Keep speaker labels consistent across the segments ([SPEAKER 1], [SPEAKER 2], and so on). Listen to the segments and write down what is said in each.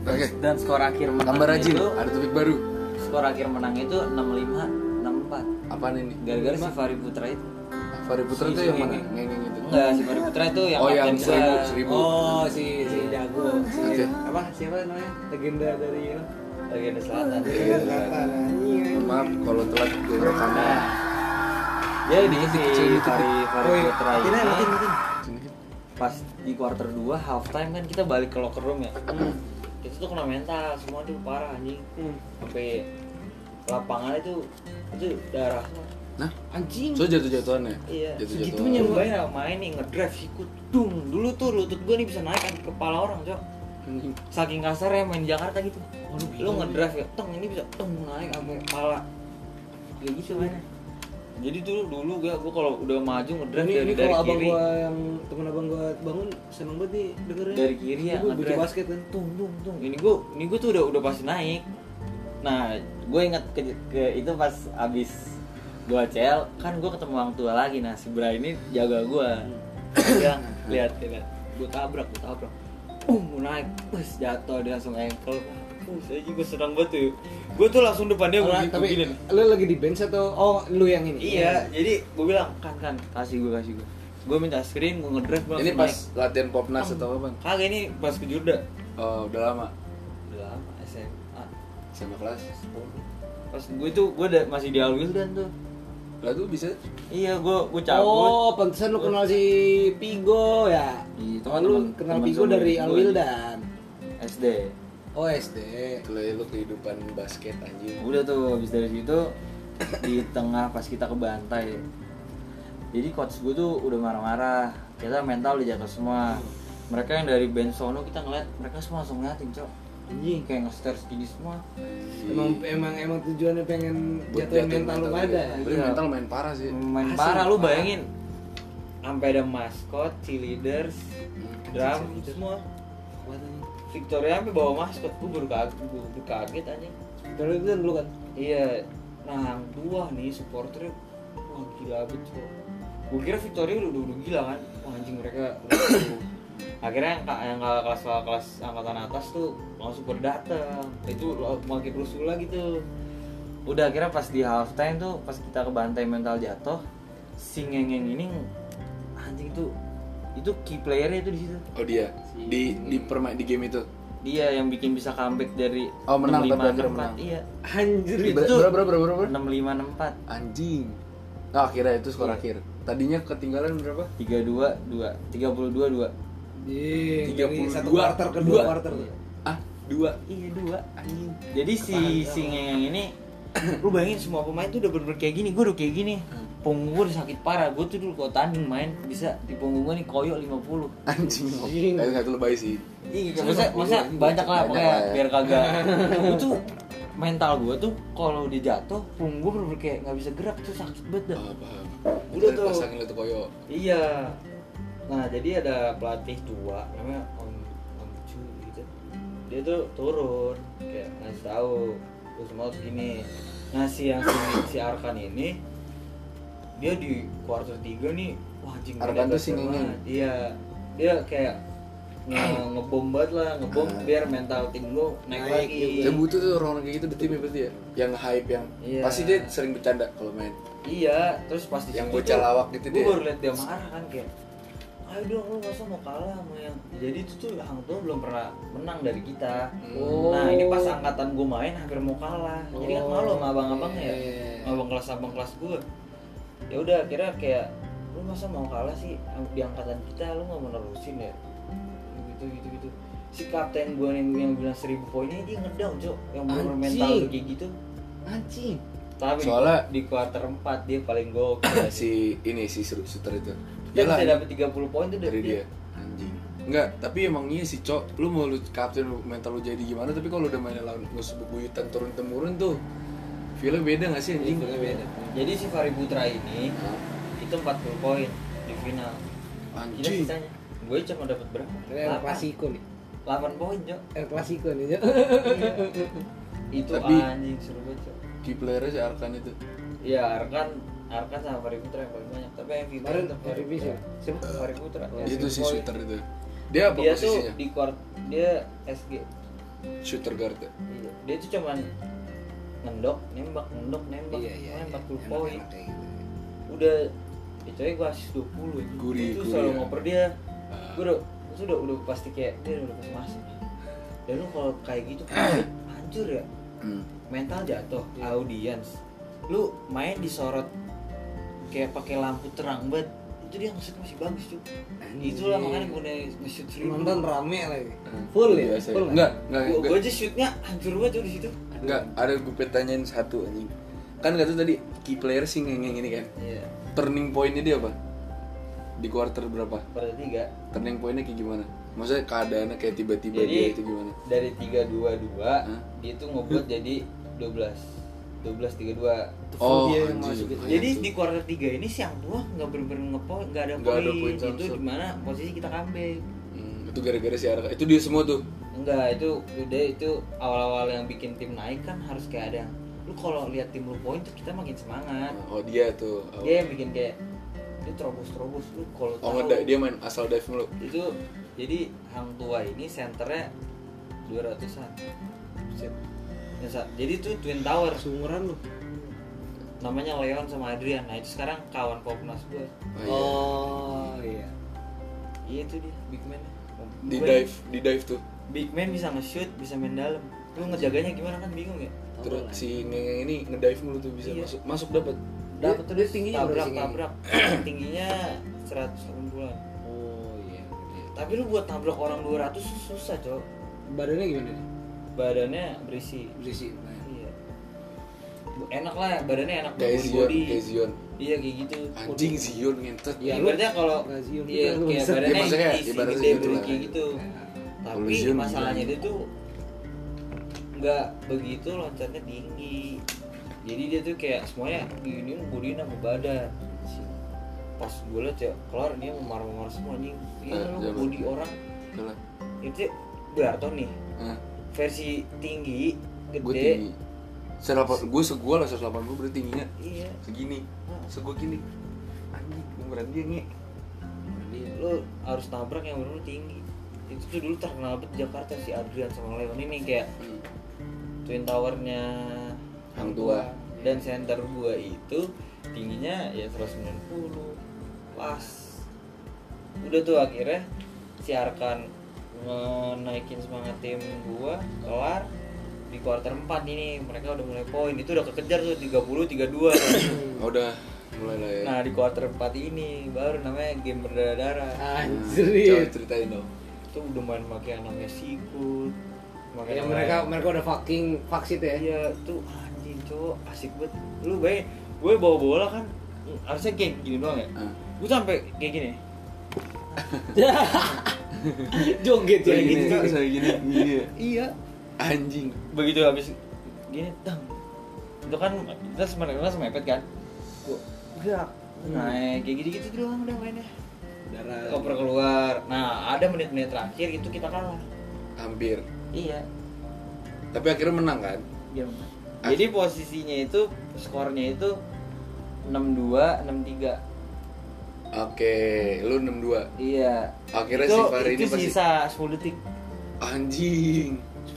[SPEAKER 1] Oke.
[SPEAKER 2] dan skor akhir menang
[SPEAKER 1] Tambah rajin,
[SPEAKER 2] Nah, itu
[SPEAKER 1] ada topik baru.
[SPEAKER 2] skor akhir menang itu 65 64
[SPEAKER 1] Apaan ini?
[SPEAKER 2] gara-gara si Fahri Putra itu
[SPEAKER 1] Fahri Putra
[SPEAKER 2] Si-
[SPEAKER 1] itu
[SPEAKER 2] si
[SPEAKER 1] yang mana?
[SPEAKER 2] ngengeng.
[SPEAKER 1] Ngengeng itu.
[SPEAKER 2] enggak si Fahri Putra itu yang
[SPEAKER 1] Oh, yang
[SPEAKER 2] kapten kita.
[SPEAKER 1] seribu, seribu.
[SPEAKER 2] oh si si jago si,
[SPEAKER 1] Oke.
[SPEAKER 2] apa siapa namanya legenda dari itu legenda selatan
[SPEAKER 1] Maaf kalau telat ke rekaman.
[SPEAKER 2] Nah. ya ini si Fahri Fahri Putra itu
[SPEAKER 1] Sini.
[SPEAKER 2] pas di quarter 2 half time kan kita balik ke locker room ya itu tuh kena mental semua tuh parah anjing sampai lapangan itu itu darah
[SPEAKER 1] Nah,
[SPEAKER 2] anjing
[SPEAKER 1] so jatuh-jatuhan ya?
[SPEAKER 2] iya segitu
[SPEAKER 1] Jatuh-jatuhan.
[SPEAKER 2] nyebain sama main nih ngedrive sikut dung dulu tuh lutut gue nih bisa naik kan kepala orang cok
[SPEAKER 1] Anjing.
[SPEAKER 2] saking kasarnya main Jakarta gitu
[SPEAKER 3] iya.
[SPEAKER 2] lo ngedrive ya teng ini bisa teng naik sampai kepala ya gitu
[SPEAKER 3] Hmm.
[SPEAKER 2] mainnya jadi dulu dulu gue gue kalau udah maju ngedrive
[SPEAKER 3] ini,
[SPEAKER 2] dari,
[SPEAKER 3] ini
[SPEAKER 2] dari
[SPEAKER 3] kalau abang
[SPEAKER 2] kiri
[SPEAKER 3] gua yang temen abang gua bangun seneng banget nih dengernya
[SPEAKER 2] dari kiri ya
[SPEAKER 3] gue
[SPEAKER 2] ngedrive.
[SPEAKER 3] basket kan
[SPEAKER 2] tung tung tung ini gue ini gue tuh udah udah pasti naik nah gue inget ke, ke itu pas abis gue CL kan gue ketemu orang tua lagi nah si Bra ini jaga gue bilang lihat lihat gue tabrak gue tabrak um gua naik bus jatuh dia langsung ankle Bus, saya juga senang banget tuh gue tuh langsung depan dia gue
[SPEAKER 3] Oh,
[SPEAKER 2] naik
[SPEAKER 3] tapi
[SPEAKER 2] gua gini.
[SPEAKER 3] lu lagi di bench atau oh lu yang ini
[SPEAKER 2] iya jadi gue bilang kan kan kasih gue kasih gue gue minta screen gue ngedrive gua
[SPEAKER 1] Ini
[SPEAKER 2] langsung
[SPEAKER 1] pas
[SPEAKER 2] naik.
[SPEAKER 1] latihan popnas atau apa?
[SPEAKER 2] kagak ini pas ke Jurda
[SPEAKER 1] Oh, udah lama.
[SPEAKER 2] udah lama SMA
[SPEAKER 1] Sama kelas.
[SPEAKER 2] pas gue tuh gue da- masih di Alwil dan tuh
[SPEAKER 1] Lah tuh bisa
[SPEAKER 2] iya gue gue cabut
[SPEAKER 3] oh pantesan lu kenal si Pigo ya
[SPEAKER 2] Iya,
[SPEAKER 3] teman lu
[SPEAKER 2] teman-
[SPEAKER 3] kenal
[SPEAKER 2] teman
[SPEAKER 3] Pigo
[SPEAKER 2] seumur
[SPEAKER 3] dari
[SPEAKER 2] gua.
[SPEAKER 3] Alwildan
[SPEAKER 2] SD
[SPEAKER 3] oh SD
[SPEAKER 1] kalau lu kehidupan basket anjing.
[SPEAKER 2] udah tuh habis dari situ di tengah pas kita ke Bantai jadi coach gue tuh udah marah-marah kita mental udah jatuh semua mereka yang dari band sono kita ngeliat mereka semua langsung ngeliatin cok anjing kayak nge-stare segini semua Iya.
[SPEAKER 3] emang emang emang tujuannya pengen
[SPEAKER 1] Buat
[SPEAKER 3] jatuhin
[SPEAKER 1] jatuhin
[SPEAKER 3] mental lu
[SPEAKER 1] mental
[SPEAKER 3] pada
[SPEAKER 1] dia.
[SPEAKER 3] ya?
[SPEAKER 1] Tapi
[SPEAKER 2] Iya.
[SPEAKER 1] mental main parah sih.
[SPEAKER 2] main
[SPEAKER 3] Asli,
[SPEAKER 2] parah lu
[SPEAKER 3] parah.
[SPEAKER 2] bayangin sampai ada maskot, cheerleaders, drum semua Victoria sampai bawa maskot, gue baru kaget, gue baru kaget anjing
[SPEAKER 3] Terus itu dulu kan
[SPEAKER 2] Iya, nah yang tua nih supporternya wah gila abis tuh. Gue kira Victoria udah, udah, udah gila kan, wah anjing mereka. udah seru. Akhirnya yang, ka- yang kakak kelas kakak kelas angkatan atas tuh langsung berdatang. Itu lo- gitu. makin rusuh lagi tuh. Udah akhirnya pas di halftime tuh pas kita ke bantai mental jatuh, si ngengeng ini anjing itu itu key playernya itu di situ.
[SPEAKER 1] Oh dia di di perma di game itu.
[SPEAKER 2] Dia yang bikin bisa comeback dari
[SPEAKER 1] Oh, menang, tapi
[SPEAKER 2] 65,
[SPEAKER 1] akhirnya menang.
[SPEAKER 2] 64. Iya,
[SPEAKER 3] anjir
[SPEAKER 1] Ber-
[SPEAKER 2] itu-
[SPEAKER 1] Berapa berapa berapa? berapa?
[SPEAKER 2] 6564.
[SPEAKER 1] Anjing. Nah, akhirnya itu
[SPEAKER 3] Iya.
[SPEAKER 1] skor akhir. Tadinya ketinggalan berapa?
[SPEAKER 2] tiga dua dua tiga puluh dua dua
[SPEAKER 3] Iya, dari
[SPEAKER 1] 32.
[SPEAKER 3] satu quarter ke dua quarter tuh.
[SPEAKER 1] Ah, dua.
[SPEAKER 2] iya dua jadi si si ngeyang ini lu bayangin semua pemain tuh udah bener-bener kayak gini gue udah kayak gini punggung gue udah sakit parah gue tuh dulu kalau tanding main bisa di punggung gue nih koyok 50
[SPEAKER 1] Anjing.
[SPEAKER 3] Anjing.
[SPEAKER 1] Kayak satu lebay sih.
[SPEAKER 2] iya masa masa banyak lah
[SPEAKER 1] Banyak
[SPEAKER 2] pokoknya
[SPEAKER 1] lah ya.
[SPEAKER 2] biar kagak gue tuh mental gue tuh kalau dia jatuh punggung gue bener-bener kayak nggak bisa gerak tuh sakit banget dah
[SPEAKER 1] Oh, paham.
[SPEAKER 2] Udah
[SPEAKER 1] Udah
[SPEAKER 2] tuh.
[SPEAKER 1] pasangin itu koyo.
[SPEAKER 2] Iya. Nah, jadi ada pelatih tua namanya Om Om Chu gitu. Dia tuh turun kayak ngasih tahu lu semua harus gini. Nah, si yang si, si Arkan ini dia di quarter 3 nih wah anjing
[SPEAKER 1] Arkan
[SPEAKER 2] dia
[SPEAKER 1] tuh si
[SPEAKER 2] gacor
[SPEAKER 1] Nengeng.
[SPEAKER 2] banget. Iya. Dia kayak nge ngebom banget lah, ngebom
[SPEAKER 1] Ah.
[SPEAKER 2] biar mental tim lu naik,
[SPEAKER 3] Naik
[SPEAKER 2] lagi.
[SPEAKER 3] juga.
[SPEAKER 1] Saya butuh tuh orang kayak gitu di timnya berarti ya. Yang hype yang
[SPEAKER 2] Iya.
[SPEAKER 1] pasti dia sering bercanda kalau main.
[SPEAKER 2] Iya, terus pas di
[SPEAKER 1] Yang
[SPEAKER 2] situ
[SPEAKER 1] bocah
[SPEAKER 2] tuh,
[SPEAKER 1] lawak gitu
[SPEAKER 2] gua
[SPEAKER 1] dia.
[SPEAKER 2] baru liat dia marah kan kayak, ayo dong lu masa mau kalah sama yang. Jadi itu tuh Hang Tuah belum pernah menang dari kita.
[SPEAKER 3] Oh.
[SPEAKER 2] Nah ini pas angkatan gue main hampir mau kalah. Jadi kan
[SPEAKER 3] Oh,
[SPEAKER 2] malu sama abang-abangnya ya,
[SPEAKER 3] iya.
[SPEAKER 2] Sama abang kelas abang kelas gue. Ya udah kira kayak lu masa mau kalah sih di angkatan kita lu nggak mau nerusin ya gitu gitu gitu si kapten gue yang, yang bilang seribu poinnya dia ngedown cok yang bener mental
[SPEAKER 3] Anjing.
[SPEAKER 2] kayak gitu
[SPEAKER 3] Anjing.
[SPEAKER 2] tapi
[SPEAKER 1] Soalnya-
[SPEAKER 2] di kuarter 4 dia paling gokil sih.
[SPEAKER 1] si ini si seru- shooter itu.
[SPEAKER 2] Dia
[SPEAKER 1] Yalah,
[SPEAKER 2] bisa dapat 30 poin tuh
[SPEAKER 1] dari dia. Anjing. Enggak, tapi emang iya sih, Cok. Lu mau lu kapten lu- mental lu jadi gimana, tapi kalau udah main lawan musuh bebuyutan turun temurun tuh feel beda gak sih anjing?
[SPEAKER 2] Jadi, Jadi si Fahri Putra ini itu 40 poin di final. Gila
[SPEAKER 1] Anjing.
[SPEAKER 2] sisanya. Gue cuma dapat berapa?
[SPEAKER 3] Ini El
[SPEAKER 2] 8,
[SPEAKER 3] Clasico nih.
[SPEAKER 2] 8 poin, Cok.
[SPEAKER 3] El Clasico nih. Cok.
[SPEAKER 2] Iya. itu
[SPEAKER 1] Tapi-
[SPEAKER 2] anjing seru banget, Cok.
[SPEAKER 1] Key player-nya si Arkan itu.
[SPEAKER 2] Ya, Arkan Arkan sama Fahri Putra yang paling banyak, tapi MVP
[SPEAKER 3] Kemarin
[SPEAKER 2] tetap
[SPEAKER 3] MVP siapa?
[SPEAKER 2] Siapa? Fahri Putra.
[SPEAKER 3] Oh,
[SPEAKER 2] Ya,
[SPEAKER 1] itu si
[SPEAKER 2] poin.
[SPEAKER 1] shooter itu. Dia apa
[SPEAKER 2] dia tuh
[SPEAKER 1] posisinya?
[SPEAKER 2] di kuart dia SG
[SPEAKER 1] shooter guard ya?
[SPEAKER 2] Iya. Dia tuh cuman ngendok, nembak, nendok, nembak,
[SPEAKER 4] Iya iya. iya.
[SPEAKER 2] nembak 40 poin.
[SPEAKER 4] Enak-enak kayak gitu.
[SPEAKER 2] Udah itu aja gue asis 20 itu.
[SPEAKER 1] Gurih,
[SPEAKER 2] itu
[SPEAKER 1] gurih,
[SPEAKER 2] selalu
[SPEAKER 1] ya.
[SPEAKER 2] ngoper dia. Gue udah terus udah udah pasti kayak dia udah pasti masuk. Dan lu kalau kayak gitu kan hancur ya.
[SPEAKER 4] Hmm.
[SPEAKER 2] Mental jatuh, audiens. Lu main disorot kayak pakai lampu terang banget itu dia nge-shoot masih bagus tuh itulah makanya gue
[SPEAKER 3] Yang
[SPEAKER 2] nge-shoot sering
[SPEAKER 3] nonton rame lagi full ya
[SPEAKER 1] Biasa
[SPEAKER 3] full
[SPEAKER 1] Enggak, enggak,
[SPEAKER 2] gue
[SPEAKER 1] enggak.
[SPEAKER 2] aja shootnya hancur banget tuh di situ
[SPEAKER 1] Enggak, ada gue pertanyaan satu anjing. Kan kata tadi key player sih yang yang ini kan.
[SPEAKER 2] iya
[SPEAKER 1] Turning pointnya dia apa? Di quarter berapa?
[SPEAKER 2] pada tiga
[SPEAKER 1] Turning pointnya kayak gimana? Maksudnya keadaannya kayak tiba-tiba
[SPEAKER 2] Jadi-
[SPEAKER 1] dia itu gimana?
[SPEAKER 2] dari 322
[SPEAKER 1] Hah?
[SPEAKER 2] dia tuh ngebuat jadi 12 12 32
[SPEAKER 1] Oh,
[SPEAKER 3] Fobia yang
[SPEAKER 1] anjing.
[SPEAKER 3] masuk gitu.
[SPEAKER 1] Lumayan
[SPEAKER 2] jadi
[SPEAKER 1] tuh.
[SPEAKER 2] di kuarter 3 ini siang tua nggak bener-bener ngepoin nggak ada
[SPEAKER 1] Nggak
[SPEAKER 2] poin
[SPEAKER 1] ada poin sama
[SPEAKER 2] itu
[SPEAKER 1] sekali.
[SPEAKER 2] dimana posisi kita comeback
[SPEAKER 1] Hmm, itu gara-gara si Arka. Itu dia semua tuh.
[SPEAKER 2] enggak itu udah itu awal-awal yang bikin tim naik kan harus kayak ada yang lu kalau lihat tim lu poin tuh kita makin semangat
[SPEAKER 1] Oh, dia tuh. Oh,
[SPEAKER 2] dia yang bikin kayak dia terobos-terobos lu kalau
[SPEAKER 1] oh
[SPEAKER 2] tahu-
[SPEAKER 1] ngeda- dia main asal dive mulu.
[SPEAKER 2] itu jadi hang tua ini senternya 200-an Set. Ya, Sa. jadi itu twin tower
[SPEAKER 3] sumuran lu
[SPEAKER 2] namanya Leon sama Adrian nah itu sekarang kawan Popnas gue
[SPEAKER 1] Oh, iya.
[SPEAKER 4] Oh iya.
[SPEAKER 2] iya itu dia big man
[SPEAKER 1] Di dive, di dive tuh.
[SPEAKER 2] big man bisa nge-shoot bisa main dalam lu ngejaganya gimana kan bingung ya
[SPEAKER 1] Terus si Ngeng ini ngedive mulu tuh bisa
[SPEAKER 2] Iya.
[SPEAKER 1] masuk masuk dapat.
[SPEAKER 4] Dapat tuh dia tingginya berapa
[SPEAKER 2] tabrak
[SPEAKER 4] sih? Ngeng?
[SPEAKER 2] tabrak tingginya 180-an
[SPEAKER 4] Oh iya. gede.
[SPEAKER 2] tapi lu buat tabrak orang 200 susah cok
[SPEAKER 3] badannya gimana nih
[SPEAKER 2] badannya berisi
[SPEAKER 4] Berisi. nah.
[SPEAKER 2] iya enak lah badannya enak body
[SPEAKER 1] Kayak Zion,
[SPEAKER 4] ya,
[SPEAKER 2] body
[SPEAKER 1] kayak Zion.
[SPEAKER 2] iya kayak gitu
[SPEAKER 1] Anjing Zion ngentet.
[SPEAKER 2] Ya,
[SPEAKER 3] lu-
[SPEAKER 2] ibaratnya kalau
[SPEAKER 3] Lazio gitu
[SPEAKER 2] iya
[SPEAKER 3] kan lu
[SPEAKER 2] kayak
[SPEAKER 3] bisa.
[SPEAKER 1] Ya,
[SPEAKER 2] badannya
[SPEAKER 1] maksudnya
[SPEAKER 2] isi
[SPEAKER 1] ibaratnya
[SPEAKER 2] gede
[SPEAKER 1] gitu lah.
[SPEAKER 2] beriki gitu. Tapi
[SPEAKER 1] Lazio gitu.
[SPEAKER 2] masalahnya dia tuh nggak begitu loncatnya tinggi. Jadi dia tuh kayak semuanya gini bodiin sama badan. Pas gue liat ya keluar dia memar-memar semua anjing. Iya
[SPEAKER 1] Eh,
[SPEAKER 2] lu
[SPEAKER 1] zaman.
[SPEAKER 2] body orang
[SPEAKER 1] Itulah.
[SPEAKER 2] itu Berarto nih
[SPEAKER 1] Hah.
[SPEAKER 2] versi tinggi
[SPEAKER 1] gue
[SPEAKER 2] gede
[SPEAKER 1] tinggi serapan gue segua lah 180 berarti tingginya
[SPEAKER 2] iya
[SPEAKER 1] segini segua gini anjing umuran dia nge
[SPEAKER 2] Iya, lu harus nabrak yang bener tinggi itu tuh dulu terkenal banget Jakarta si Adrian sama Leon ini kayak Hmm. twin towernya
[SPEAKER 1] Hang Tua.
[SPEAKER 2] dan center gua itu tingginya ya 190 pas udah tuh akhirnya si Arkan naikin semangat tim gua kelar di quarter 4 ini mereka udah mulai poin itu udah kekejar tuh 30 32
[SPEAKER 1] oh, udah mulai lah ya
[SPEAKER 2] nah di quarter 4 ini baru namanya game berdarah-darah
[SPEAKER 1] Ah,
[SPEAKER 4] Ah,
[SPEAKER 1] coba
[SPEAKER 3] anjir
[SPEAKER 1] ceritain dong
[SPEAKER 2] itu udah main pakai yang namanya sikut pakai
[SPEAKER 3] ya
[SPEAKER 2] yang
[SPEAKER 3] mereka
[SPEAKER 2] lain.
[SPEAKER 3] mereka udah fucking vaksin ya
[SPEAKER 2] iya tuh anjing cowok asik banget lu bay gue bawa bola kan harusnya kayak gini doang ya
[SPEAKER 1] Ah.
[SPEAKER 2] gue sampai kayak gini
[SPEAKER 3] joget ya
[SPEAKER 1] Kayak gini
[SPEAKER 3] gitu
[SPEAKER 1] kayak gini iya
[SPEAKER 3] iya
[SPEAKER 1] anjing
[SPEAKER 2] begitu habis gini tang itu kan kita sebenarnya kita semepet kan gue gerak
[SPEAKER 3] Hmm.
[SPEAKER 2] nah kayak gitu gitu doang udah mainnya
[SPEAKER 3] darah
[SPEAKER 2] koper keluar nah ada menit-menit terakhir itu kita kalah
[SPEAKER 1] hampir
[SPEAKER 2] iya
[SPEAKER 1] tapi akhirnya menang kan
[SPEAKER 2] Jerman.
[SPEAKER 1] Ah.
[SPEAKER 2] Jadi posisinya itu skornya itu 62 63.
[SPEAKER 1] oke lu 62
[SPEAKER 2] Iya.
[SPEAKER 1] akhirnya
[SPEAKER 2] itu,
[SPEAKER 1] si Fahri ini
[SPEAKER 2] itu
[SPEAKER 1] pasti
[SPEAKER 2] sisa 10 detik.
[SPEAKER 1] anjing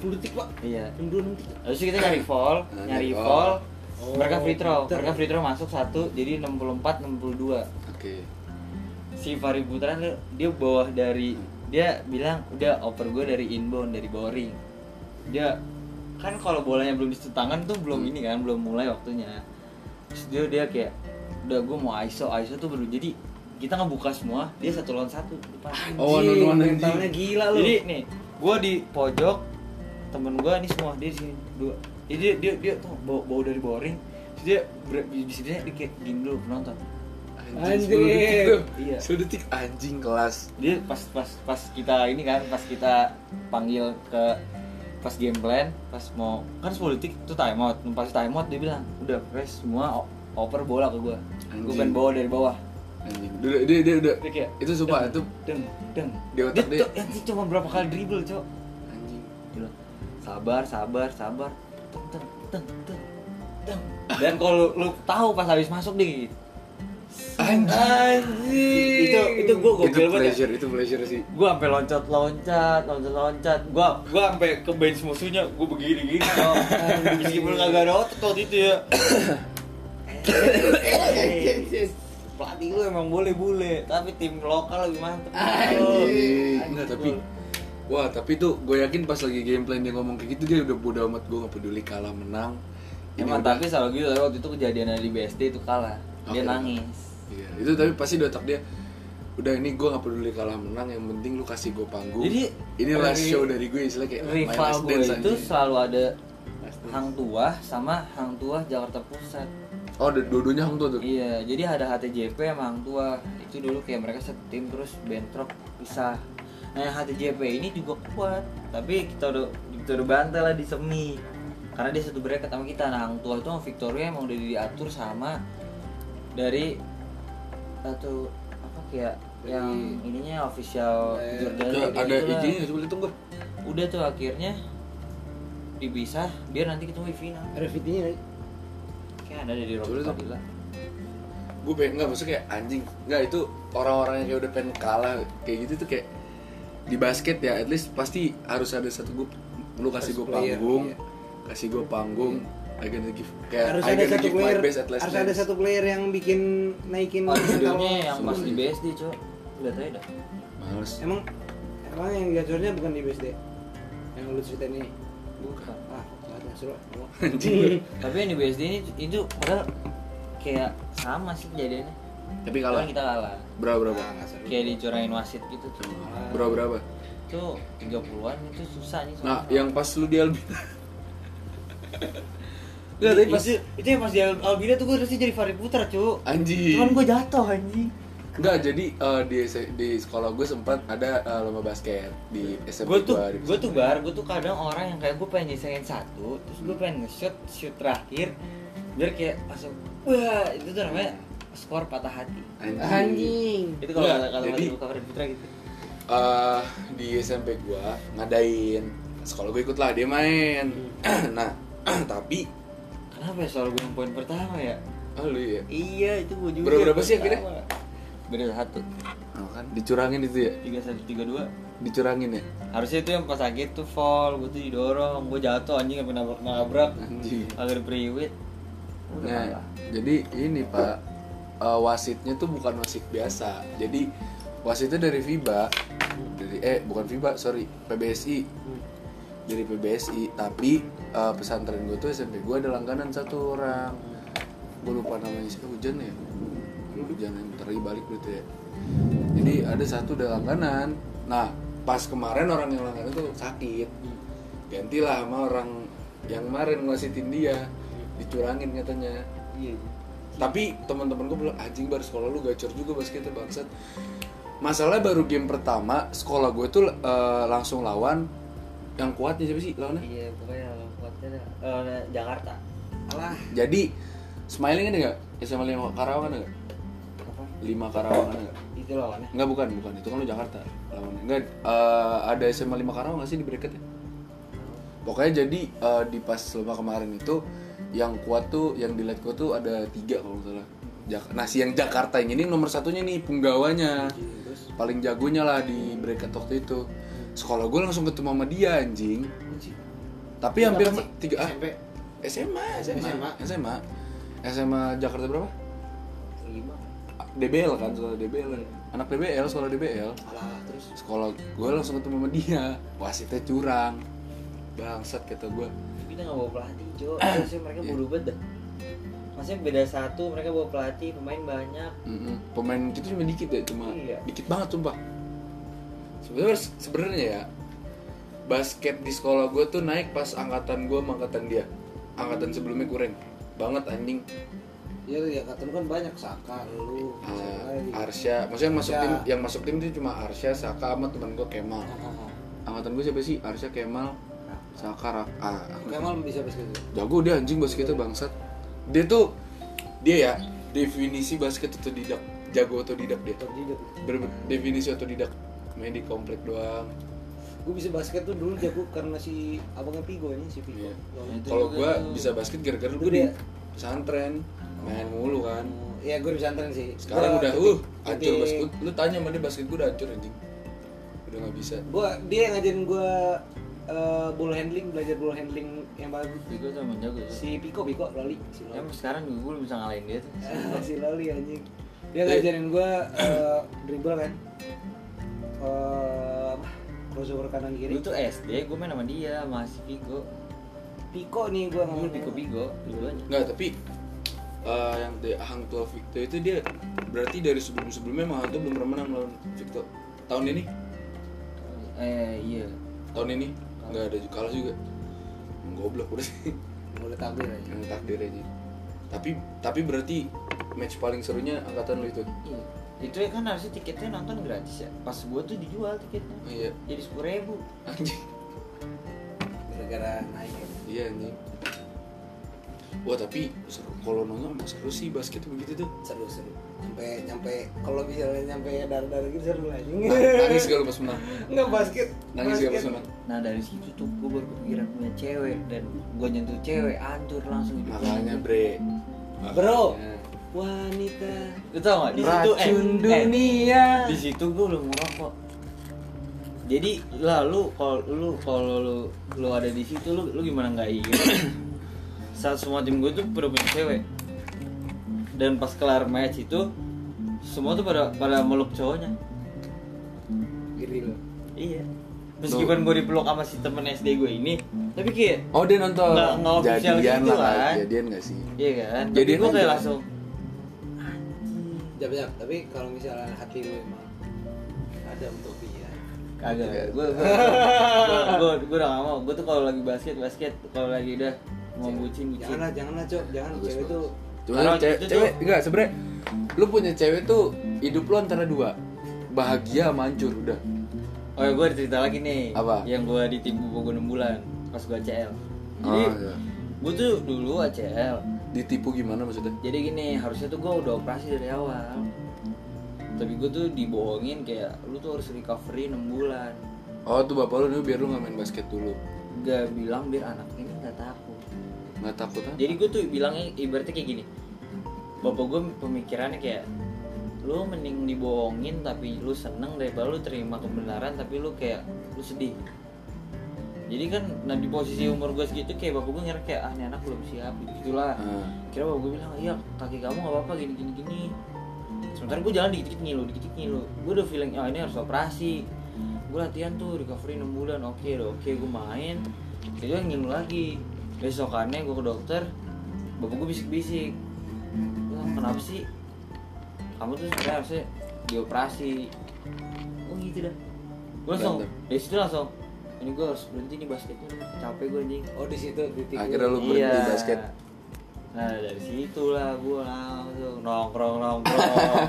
[SPEAKER 3] 10 detik pak
[SPEAKER 2] Iya.
[SPEAKER 3] yang dua enam tiga
[SPEAKER 2] Terus kita nyari fall,
[SPEAKER 1] Nah,
[SPEAKER 2] nyari
[SPEAKER 1] nyari fall.
[SPEAKER 2] fall.
[SPEAKER 3] Oh,
[SPEAKER 2] mereka free throw,
[SPEAKER 3] pinter.
[SPEAKER 2] mereka free throw masuk satu, jadi 64 62.
[SPEAKER 1] oke
[SPEAKER 2] Si Fahri Putra tuh, dia bawah dari dia bilang udah oper gue dari inbound dari boring. Dia kan kalau bolanya belum disentuh tangan tuh belum ini kan, belum mulai waktunya. Terus dia dia kayak udah gue mau ISO, ISO tuh baru jadi kita ngebuka semua, dia satu lawan satu di depan.
[SPEAKER 1] Oh,
[SPEAKER 3] Anjing,
[SPEAKER 1] nonu-nonu anjing.
[SPEAKER 3] mentalnya gila lu
[SPEAKER 2] Jadi nih, gue di pojok, temen gue nih semua dia di sini dua. Jadi dia dia, dia tuh bau, bau dari boring. Terus dia ber- di di sini dia kayak gini dulu penonton.
[SPEAKER 1] anjing 10 detik
[SPEAKER 3] Anjing.
[SPEAKER 1] tuh
[SPEAKER 2] Iya.
[SPEAKER 1] 10 detik anjing kelas
[SPEAKER 2] Dia pas pas pas kita ini kan, pas kita panggil ke pas game plan, pas mau kan 10 detik itu timeout. Pas timeout dia bilang, udah press semua o- oper bola ke gue. Gue
[SPEAKER 1] Anjing.
[SPEAKER 2] pengen bawa dari bawah.
[SPEAKER 1] anjing dia dia dia, dia.
[SPEAKER 2] Dia kayak,
[SPEAKER 1] itu sumpah
[SPEAKER 2] deng,
[SPEAKER 1] itu
[SPEAKER 2] deng deng.
[SPEAKER 1] Di otak dia-
[SPEAKER 2] tuh- anjing cuma berapa kali dribble cok.
[SPEAKER 1] anjing
[SPEAKER 2] Gila. Sabar, sabar, sabar. Teng teng teng teng. teng. Dan kalau lu tahu pas habis masuk deh.
[SPEAKER 1] Anjing.
[SPEAKER 2] Anjing. Itu itu gue
[SPEAKER 1] Itu
[SPEAKER 2] gokil banget. ya.
[SPEAKER 1] pleasure, itu pleasure sih.
[SPEAKER 2] Gue sampai loncat loncat, loncat loncat. Gue gue sampai ke bench musuhnya. Gue begini gini. Cok. Meskipun kagak ada otot waktu itu ya. Pelatih lu emang boleh bule, tapi tim lokal lebih mantep.
[SPEAKER 1] Anjing.
[SPEAKER 4] Anjing.
[SPEAKER 1] Oh, Enggak, tapi Wah tapi tuh gue yakin pas lagi gameplay dia ngomong kayak gitu dia udah bodo amat gue gak peduli kalah menang Ini
[SPEAKER 2] Emang
[SPEAKER 1] udah-
[SPEAKER 2] tapi selalu gitu waktu itu kejadian di BSD itu kalah. Dia
[SPEAKER 1] Oke.
[SPEAKER 2] nangis.
[SPEAKER 1] Iya, itu tapi pasti di otak dia udah ini gue gak peduli kalah menang yang penting lu kasih gue panggung
[SPEAKER 2] Jadi,
[SPEAKER 1] ini last
[SPEAKER 2] ri-
[SPEAKER 1] show dari gue istilah kayak my
[SPEAKER 2] Rival
[SPEAKER 1] last
[SPEAKER 2] gue
[SPEAKER 1] dance
[SPEAKER 2] itu
[SPEAKER 1] anjing.
[SPEAKER 2] selalu ada Hang Tuah sama Hang Tuah Jakarta Pusat.
[SPEAKER 1] oh ada dua-duanya hang tuh tuh
[SPEAKER 2] Iya, jadi ada HTJP sama Hang Tuah. Itu dulu kayak mereka satu tim terus bentrok pisah. Nah, yang HTJP ini juga kuat, tapi kita udah kita udah bantai lah di semi. Karena dia satu bracket sama kita. Nah, Hang Tuah itu sama Victoria emang udah diatur sama dari satu apa kayak yang ininya official Jordan
[SPEAKER 1] Iya, Ada-
[SPEAKER 2] kayak gitu
[SPEAKER 1] ada
[SPEAKER 2] gitulah.
[SPEAKER 1] izinnya coba lihat dong gue
[SPEAKER 2] udah tuh akhirnya dipisah biar nanti ketemu di final
[SPEAKER 3] Ada eh. VT-nya nggak sih?
[SPEAKER 2] kayak ada di Robert
[SPEAKER 1] Betul,
[SPEAKER 2] Padilla
[SPEAKER 1] gue pengen nggak maksudnya kayak anjing nggak itu orang-orang yang kayak udah pengen kalah kayak gitu tuh kayak di basket ya at least pasti harus ada satu gue lu kasih gue
[SPEAKER 4] player,
[SPEAKER 1] panggung
[SPEAKER 4] iya.
[SPEAKER 1] kasih gue panggung I gonna give kayak
[SPEAKER 3] harus
[SPEAKER 1] I
[SPEAKER 3] ada
[SPEAKER 1] gonna
[SPEAKER 3] satu
[SPEAKER 1] give my
[SPEAKER 3] player
[SPEAKER 1] best at last
[SPEAKER 3] harus ada
[SPEAKER 1] dance.
[SPEAKER 3] satu player yang bikin naikin
[SPEAKER 2] oh
[SPEAKER 3] mental
[SPEAKER 2] videonya yang
[SPEAKER 3] semua.
[SPEAKER 2] pas di BSD cok lihat aja dah
[SPEAKER 1] males
[SPEAKER 3] emang emang yang gacornya bukan di BSD yang lu cerita ini
[SPEAKER 2] bukan
[SPEAKER 3] ah nggak seru
[SPEAKER 2] tapi yang di BSD ini itu padahal kayak sama sih kejadiannya
[SPEAKER 1] tapi kalah
[SPEAKER 2] Cuman kita kalah
[SPEAKER 1] berapa berapa
[SPEAKER 4] Ah, nggak seru.
[SPEAKER 2] kayak dicorain wasit gitu tuh
[SPEAKER 1] berapa berapa
[SPEAKER 2] itu 30-an itu susah nih soalnya.
[SPEAKER 1] nah yang pas lu di Albina
[SPEAKER 2] Nggak, tapi pas itu yang pas di Al- Albina tuh gue harusnya jadi Fahri Putra cuk
[SPEAKER 1] anjing
[SPEAKER 2] cuman gue jatuh anjing
[SPEAKER 1] Enggak, jadi eh, di S- di sekolah gue sempat ada eh, lomba basket di SMP
[SPEAKER 2] gue tuh
[SPEAKER 1] gua, di
[SPEAKER 2] gue tuh
[SPEAKER 1] pesantren.
[SPEAKER 2] bar gue tuh kadang orang yang kayak gue pengen nyelesain satu terus gue pengen nge-shoot shoot terakhir biar kayak langsung wah itu tuh namanya skor patah hati
[SPEAKER 1] anjing.
[SPEAKER 2] itu kalau
[SPEAKER 1] Nggak,
[SPEAKER 2] kalau
[SPEAKER 1] jadi-
[SPEAKER 2] buka Fred Putra gitu
[SPEAKER 1] eh di SMP gua ngadain sekolah gue ikut lah dia main nah tapi
[SPEAKER 2] kenapa ya soal gue yang poin pertama ya
[SPEAKER 1] oh lu ya
[SPEAKER 2] iya itu gue juga
[SPEAKER 1] Berapa-
[SPEAKER 2] yang
[SPEAKER 1] berapa sih
[SPEAKER 2] pertama.
[SPEAKER 1] akhirnya?
[SPEAKER 2] beda satu
[SPEAKER 1] Oh kan dicurangin itu ya
[SPEAKER 2] tiga satu tiga dua
[SPEAKER 1] dicurangin ya
[SPEAKER 2] harusnya itu yang pas sakit tuh fall gue tuh didorong gue jatuh anjing sampai nabrak nabrak
[SPEAKER 1] anjing
[SPEAKER 2] akhir priwit udah
[SPEAKER 1] Nah,
[SPEAKER 2] kalah.
[SPEAKER 1] jadi ini Pak eh, wasitnya tuh bukan wasit biasa. Jadi wasitnya dari FIBA, dari eh bukan FIBA, sorry PBSI, dari PBSI. Tapi eh, pesantren gue tuh SMP gue ada langganan satu orang. Gue lupa namanya siapa hujan ya. Hujan yang bentar lagi balik gitu ya. Jadi ada satu ada langganan. Nah, pas kemarin orang yang langganan tuh sakit. Gantilah sama orang yang kemarin ngasitin dia dicurangin katanya
[SPEAKER 2] iya
[SPEAKER 1] tapi teman-teman gue bilang anjing baru sekolah lu gacor juga basketnya bangsat masalah baru game pertama sekolah gue tuh eh, langsung lawan yang kuatnya siapa sih lawannya
[SPEAKER 2] iya pokoknya yang kuatnya dah. Eh, nah, Jakarta
[SPEAKER 4] Alah,
[SPEAKER 2] Iya.
[SPEAKER 1] jadi smiling ada nggak SMA lima Karawang ada nggak
[SPEAKER 2] apa
[SPEAKER 1] lima Karawang ada nggak
[SPEAKER 2] itu lawannya
[SPEAKER 1] nggak bukan bukan itu kan lu Jakarta lawannya nggak eh, ada SMA lima Karawang nggak sih di bracketnya pokoknya jadi eh, di pas lomba kemarin itu yang kuat tuh yang di gue tuh ada tiga kalau nggak salah Jak- nah si yang Jakarta yang ini nomor satunya nih punggawanya paling jagonya lah di bracket waktu itu sekolah gue langsung ketemu sama dia anjing tapi hampir
[SPEAKER 4] apa sih?
[SPEAKER 1] tiga ah,
[SPEAKER 4] SMP
[SPEAKER 1] SMA SMA
[SPEAKER 4] SMA.
[SPEAKER 1] SMA SMA Jakarta berapa
[SPEAKER 4] lima.
[SPEAKER 1] DBL kan sekolah DBL anak DBL sekolah DBL
[SPEAKER 4] Alah, terus
[SPEAKER 1] sekolah gue langsung ketemu sama dia wasitnya curang bangsat kata gue
[SPEAKER 2] Tapi kita nggak bawa pelatih Jo terus mereka bodoh banget dah maksudnya beda satu mereka bawa pelatih pemain banyak
[SPEAKER 1] Mm-mm. Pemain kita cuma dikit ya, cuma
[SPEAKER 2] Iya.
[SPEAKER 1] dikit banget sumpah. Sebenarnya sebenarnya ya basket di sekolah gue tuh naik pas angkatan gue sama angkatan dia. Angkatan sebelumnya kurang banget anjing.
[SPEAKER 3] Iya,
[SPEAKER 4] ya ya kata lu kan banyak saka lu.
[SPEAKER 1] Ah,
[SPEAKER 4] Saka,
[SPEAKER 1] Arsya, maksudnya yang masuk
[SPEAKER 4] Arsya.
[SPEAKER 1] tim yang masuk tim itu cuma Arsya, Saka sama teman gue Kemal.
[SPEAKER 4] ah, ah, ah.
[SPEAKER 1] Angkatan gue siapa sih? Arsya, Kemal, Saka, Rak. Ah, aku-
[SPEAKER 4] Kemal bisa basket
[SPEAKER 3] gitu.
[SPEAKER 4] lu.
[SPEAKER 1] jago dia anjing basketnya bangsat. Dia tuh dia ya definisi basket itu tidak jago atau tidak dia.
[SPEAKER 4] Top jidat.
[SPEAKER 1] Ber- definisi otodidak main di komplek doang
[SPEAKER 4] Gue bisa basket tuh dulu jago karena si abangnya Pigo ini si Pigo.
[SPEAKER 1] Iya.
[SPEAKER 4] Bang.
[SPEAKER 2] Nah, Itu
[SPEAKER 1] kalau
[SPEAKER 2] juga
[SPEAKER 1] gua
[SPEAKER 2] tuh.
[SPEAKER 1] bisa basket gara-gara
[SPEAKER 4] Itu
[SPEAKER 1] gue di
[SPEAKER 4] dia.
[SPEAKER 1] pesantren main mulu kan
[SPEAKER 4] Oh, ya gue bisa anterin sih
[SPEAKER 1] Sekarang
[SPEAKER 4] Gua
[SPEAKER 1] udah
[SPEAKER 4] titik-
[SPEAKER 1] uh hancur
[SPEAKER 4] titik-
[SPEAKER 1] basket. Lu tanya sama dia basket gue udah hancur anjing. Udah nggak bisa.
[SPEAKER 4] gua dia yang ngajarin gua eh, ball handling belajar ball handling yang bagus
[SPEAKER 2] Piko tuh emang jago sih.
[SPEAKER 4] si Piko Piko Loli si Loli
[SPEAKER 2] Emang sekarang juga gue belum bisa ngalahin dia tuh.
[SPEAKER 4] si Loli anjing dia
[SPEAKER 1] Iya.
[SPEAKER 4] ngajarin gua eh, dribble kan Eh, apa crossover kanan
[SPEAKER 2] Dulu
[SPEAKER 4] kiri
[SPEAKER 2] tuh SD gue main sama Iya. dia, masih Piko.
[SPEAKER 4] Piko nih gua
[SPEAKER 2] Dulu
[SPEAKER 4] ngomong
[SPEAKER 2] Piko Piko, duluan.
[SPEAKER 1] Nggak tapi eh, yang The Hang Tua Victor itu dia berarti dari sebelum sebelumnya emang Hang Tua belum pernah menang lawan Victor. Tahun ini?
[SPEAKER 2] Eh iya.
[SPEAKER 1] Tahun ini? Nggak ada juga kalah juga. Emang Goblok udah sih.
[SPEAKER 4] boleh tampil aja
[SPEAKER 1] Yang takdir aja. Tapi tapi berarti match paling serunya angkatan lu itu.
[SPEAKER 2] Iya. Itu ya kan harusnya tiketnya nonton gratis ya. Pas gue tuh dijual tiketnya.
[SPEAKER 1] Oh, Iya,
[SPEAKER 2] Jadi sepuluh ribu.
[SPEAKER 1] anjing.
[SPEAKER 4] gara-gara naik
[SPEAKER 1] Iya anjing. Wah tapi seru kalau nonton emang seru sih basket begitu tuh.
[SPEAKER 4] seru seru nyampe nyampe kalau bisa nyampe dar dar gitu seru lah anjing.
[SPEAKER 1] Nangis gak lu pas menang?
[SPEAKER 4] nggak basket
[SPEAKER 1] Nangis gak pas menang?
[SPEAKER 2] Nah dari situ tuh gue baru kepikiran punya cewek dan gue nyentuh cewek hancur langsung. hidup gua.
[SPEAKER 1] Makanya bre.
[SPEAKER 4] Bro.
[SPEAKER 1] Makanya.
[SPEAKER 4] wanita
[SPEAKER 2] Lu tau gak di situ eh,
[SPEAKER 4] racun
[SPEAKER 2] eh,
[SPEAKER 4] dunia
[SPEAKER 2] di situ gue belum ngerokok. Jadi lah lu kalau lu kalau lu lu ada di situ lu lu gimana nggak iya? Saat semua tim gue tuh pada punya cewek dan pas kelar match itu semua tuh pada pada meluk cowoknya.
[SPEAKER 4] gini lo
[SPEAKER 2] Iya. Meskipun gue dipeluk sama si temen SD gue ini, tapi kayak
[SPEAKER 1] Oh dia nonton.
[SPEAKER 2] Nggak- nggak official
[SPEAKER 1] jadian
[SPEAKER 2] gitu
[SPEAKER 1] lah,
[SPEAKER 2] kan.
[SPEAKER 1] jadian gak sih?
[SPEAKER 2] Iya kan?
[SPEAKER 1] Jadi
[SPEAKER 2] Jadi gue
[SPEAKER 1] aja.
[SPEAKER 2] kayak langsung
[SPEAKER 4] jap jap tapi kalau misalnya hati lu emang ada utopia
[SPEAKER 1] Iya.
[SPEAKER 2] kagak. Gue gue gue udah gak mau. Gue tuh kalau lagi basket basket, kalau lagi udah mau bucin bucin.
[SPEAKER 4] janganlah janganlah cok jangan
[SPEAKER 1] Bagus,
[SPEAKER 4] cewek
[SPEAKER 1] bagus.
[SPEAKER 4] tuh
[SPEAKER 1] Cuma
[SPEAKER 2] Kalau
[SPEAKER 1] cewek,
[SPEAKER 2] itu tuh-
[SPEAKER 1] cewek enggak sebenernya lu punya cewek tuh hidup lu antara dua bahagia sama hancur udah
[SPEAKER 2] Oh ya gue ada cerita lagi nih.
[SPEAKER 1] Apa?
[SPEAKER 2] Yang gue ditipu gue 6 bulan pas gue ACL. Jadi
[SPEAKER 1] Oh, iya.
[SPEAKER 2] gue tuh dulu ACL.
[SPEAKER 1] ditipu gimana maksudnya
[SPEAKER 2] Jadi gini harusnya tuh gue udah operasi dari awal. Tapi gue tuh dibohongin kayak lu tuh harus recovery 6 bulan.
[SPEAKER 1] oh tuh bapak lu dulu biar lu nggak main basket dulu
[SPEAKER 2] Gak bilang biar anak ini nggak takut.
[SPEAKER 1] nggak takut ah
[SPEAKER 2] jadi gue tuh bilangnya ibaratnya kayak gini bapak gue pemikirannya kayak lu mending dibohongin tapi lu seneng daripada lu terima kebenaran tapi lu kayak lu sedih jadi kan nah di posisi umur gue segitu kayak bapak gue ngira kayak ah ini anak belum siap gitulah
[SPEAKER 1] Ah.
[SPEAKER 2] kira bapak gue bilang iya kaki kamu gak apa-apa gini gini gini sementara gue jalan dikit-dikit ngilu dikit-dikit ngilu gue udah feeling ah ini harus operasi gue latihan tuh recovery 6 bulan oke udah oke gue main itu yang ngilu lagi besokannya gue ke dokter bapak gue bisik-bisik "Lah, kenapa sih kamu tuh sebenarnya harusnya dioperasi oh gitu dah gue langsung
[SPEAKER 1] Berantem.
[SPEAKER 2] dari situ langsung ini gue harus berhenti nih basketnya nih. capek gue anjing
[SPEAKER 4] oh di situ titik
[SPEAKER 1] Akhirnya lu- berhenti basket.
[SPEAKER 2] Iya. Nah dari situlah gue langsung nongkrong nongkrong,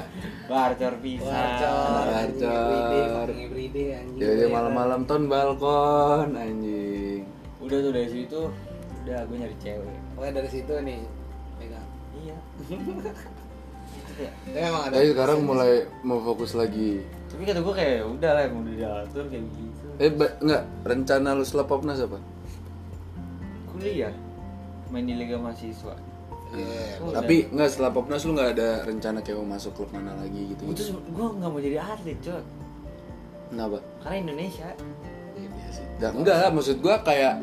[SPEAKER 2] barcor
[SPEAKER 4] Warcor,
[SPEAKER 2] pisang.
[SPEAKER 1] Warcor.
[SPEAKER 4] everyday, everyday anjing.
[SPEAKER 2] Iya.
[SPEAKER 1] jadi Iya, malam-malam ton balkon anjing
[SPEAKER 2] Udah tuh dari situ, udah gue nyari cewek.
[SPEAKER 4] Pokoknya dari situ nih, pegang.
[SPEAKER 2] Iya. Gitu ya.
[SPEAKER 4] Tapi emang ada.
[SPEAKER 1] tapi sekarang mulai mau fokus lagi
[SPEAKER 2] Tapi kata gue kayak udah lah emang udah diatur kayak gitu.
[SPEAKER 1] eh ba- nggak rencana lu setelah popnas apa
[SPEAKER 2] Kuliah, main di liga mahasiswa.
[SPEAKER 4] Iya.
[SPEAKER 2] Oh,
[SPEAKER 1] tapi nggak setelah popnas lu nggak ada rencana kayak mau masuk klub mana lagi gitu
[SPEAKER 2] Gue tuh gue nggak mau jadi atlet coy,
[SPEAKER 1] kenapa
[SPEAKER 2] karena Indonesia.
[SPEAKER 1] Iya, iya sih. Nggak, enggak lah, maksud gua kayak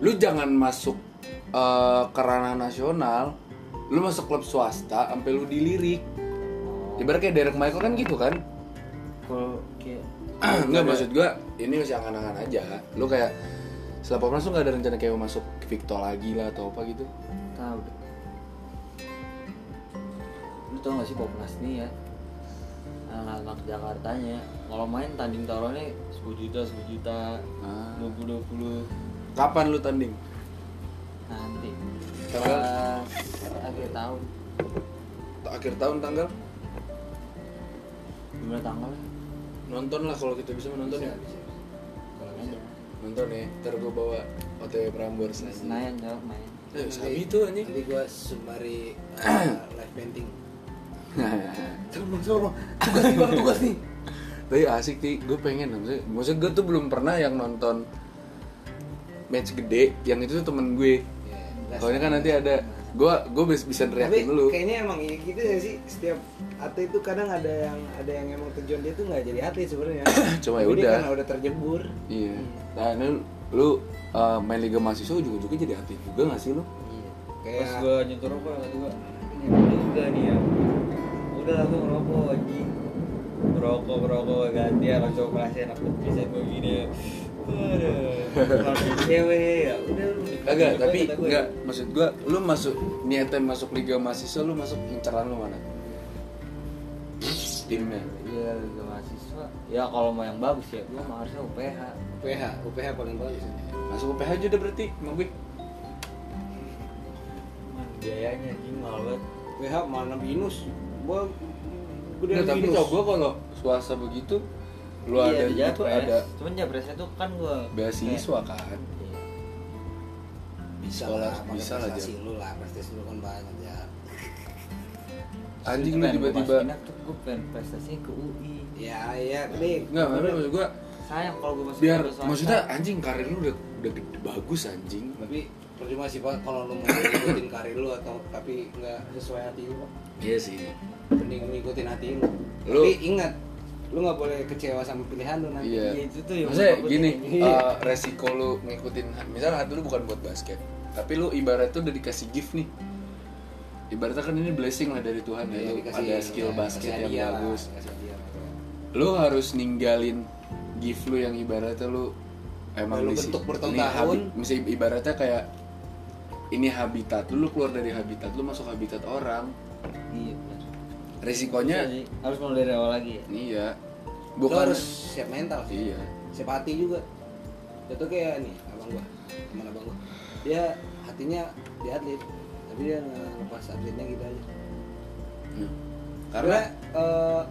[SPEAKER 1] lu jangan masuk eh, ke ranah nasional, lu masuk klub swasta sampai lu dilirik. Ibarat kayak Derek Michael kan gitu kan?
[SPEAKER 2] Kalau kayak
[SPEAKER 1] enggak maksud gua ini masih angan-angan aja. Lu kayak setelah popnas lu nggak ada rencana kayak mau masuk Victor lagi lah atau apa gitu?
[SPEAKER 2] tahu deh. Lu tau gak sih Popnas nih ya Anak-anak Jakartanya Kalau main tanding taruhannya 10 juta, 10 juta
[SPEAKER 1] Ah.
[SPEAKER 2] 20, 20
[SPEAKER 1] Kapan lu tanding?
[SPEAKER 2] Nanti
[SPEAKER 1] Tanggal?
[SPEAKER 2] Pas akhir tahun
[SPEAKER 1] Akhir tahun tanggal?
[SPEAKER 2] Gimana tanggal
[SPEAKER 1] Nonton lah kalau kita bisa menonton ya. Nonton ya, ntar gua bawa OTW Prambors aja.
[SPEAKER 2] Senayan jawab main
[SPEAKER 1] Eh, sabi tuh anjing.
[SPEAKER 4] Nanti gua sembari eh, live painting. Tolong, tolong. Tugas nih, Bang, tugas nih.
[SPEAKER 1] Kan Tapi asik sih, gue pengen maksudnya, maksudnya gue tuh belum pernah yang nonton match gede yang itu tuh temen gue.
[SPEAKER 4] Iya,
[SPEAKER 1] Soalnya kan nanti ada gue gue bisa
[SPEAKER 3] tapi
[SPEAKER 1] neriakin lu
[SPEAKER 3] kayaknya emang ya gitu ya sih setiap atlet itu kadang ada yang ada yang emang tujuan dia tuh nggak jadi atlet sebenarnya Tapi
[SPEAKER 1] Cuma ya
[SPEAKER 3] dia
[SPEAKER 1] udah.
[SPEAKER 3] karena udah terjebur
[SPEAKER 1] iya nah ini lu eh, main liga mahasiswa juga-juga jadi atlet juga gak sih lu
[SPEAKER 2] Pas
[SPEAKER 3] Iya, kayak
[SPEAKER 2] gue nyentuh rokok kata gue ini apa juga nih ya Udah lah gue ngerokok anjing Berokok berokok ganti ya langsung kelasnya anak bisa gue gini ya Waduh, langsung
[SPEAKER 3] Iya,
[SPEAKER 2] cewek ya udah lu Gua
[SPEAKER 1] Kagak, tapi
[SPEAKER 2] kata gua,
[SPEAKER 1] enggak maksud gua lu masuk niatnya masuk liga mahasiswa lu masuk inceran lu mana? Timnya.
[SPEAKER 2] Iya, liga mahasiswa. Ya kalau mau yang bagus ya, gue mah harusnya UPH.
[SPEAKER 4] UPH UPH paling bagus
[SPEAKER 3] ya.
[SPEAKER 1] Masuk UPH aja udah berarti, Mang Bik.
[SPEAKER 2] Cuman biayanya anjing mahal banget.
[SPEAKER 4] UPH mana binus gua gede
[SPEAKER 1] Nggak, tapi
[SPEAKER 4] binus
[SPEAKER 1] tau gua kalau swasta begitu lu ada
[SPEAKER 2] di
[SPEAKER 1] gitu
[SPEAKER 2] Japres.
[SPEAKER 1] ada
[SPEAKER 2] Cuman japresnya tuh kan gue
[SPEAKER 1] beasiswa kan.
[SPEAKER 2] Iya.
[SPEAKER 4] bisa
[SPEAKER 1] Sekolah,
[SPEAKER 4] lah pakai
[SPEAKER 1] bisa lah,
[SPEAKER 4] prestasi lu lah prestasi lu kan banyak ya
[SPEAKER 2] Terus
[SPEAKER 1] Anjing lu
[SPEAKER 2] pengen gua
[SPEAKER 1] tiba-tiba
[SPEAKER 2] masukin tuh gue pengen prestasinya ke UI.
[SPEAKER 4] ya ya nih
[SPEAKER 1] enggak, tapi maksud gua
[SPEAKER 2] Sayang kalau gue masukin
[SPEAKER 1] biar
[SPEAKER 2] ke swasta.
[SPEAKER 1] maksudnya eh, anjing karir lu udah udah gede, bagus anjing.
[SPEAKER 4] tapi percuma sih pak kalau lu mau ngikutin karir lu atau tapi nggak sesuai hati lu Pak.
[SPEAKER 1] Iya sih.
[SPEAKER 4] mending ngikutin hati lu
[SPEAKER 1] Lu-
[SPEAKER 4] tapi ingat lu nggak boleh kecewa sama pilihan lu nanti
[SPEAKER 1] Iya.
[SPEAKER 2] Iya, itu tuh yang
[SPEAKER 1] Maksudnya
[SPEAKER 2] gua takutin.
[SPEAKER 1] gini,
[SPEAKER 4] Iya.
[SPEAKER 1] eh, resiko lu ngikutin misal hati lu bukan buat basket, tapi lu ibarat tuh udah dikasih gift nih. Ibaratnya kan ini blessing lah dari Tuhan ya,
[SPEAKER 4] Iya,
[SPEAKER 1] lu
[SPEAKER 4] dikasih-
[SPEAKER 1] ada skill
[SPEAKER 4] ya,
[SPEAKER 1] basket
[SPEAKER 4] dikasih
[SPEAKER 1] yang
[SPEAKER 4] hadiah lah,
[SPEAKER 1] bagus.
[SPEAKER 4] dikasih hadiah lah.
[SPEAKER 1] Lu harus ninggalin gift lu yang ibaratnya lu emang
[SPEAKER 4] Lu
[SPEAKER 1] di si-
[SPEAKER 4] bentuk
[SPEAKER 1] ini
[SPEAKER 4] bertahun-tahun.
[SPEAKER 1] habi- misalnya ibaratnya kayak ini habitat lu, lu keluar dari habitat lu masuk habitat orang.
[SPEAKER 2] Iya, benar. Bisa
[SPEAKER 1] Resikonya
[SPEAKER 2] sih, Iya, harus mulai dari awal lagi ya.
[SPEAKER 1] iya.
[SPEAKER 4] lu
[SPEAKER 1] Bukan
[SPEAKER 4] harus siap mental sih
[SPEAKER 1] iya.
[SPEAKER 4] siap hati juga itu kayak nih abang gua teman abang gua dia hatinya di atlet tapi dia ngelepas atletnya gitu aja
[SPEAKER 1] Hmm.
[SPEAKER 4] karena
[SPEAKER 1] Karena
[SPEAKER 4] eh,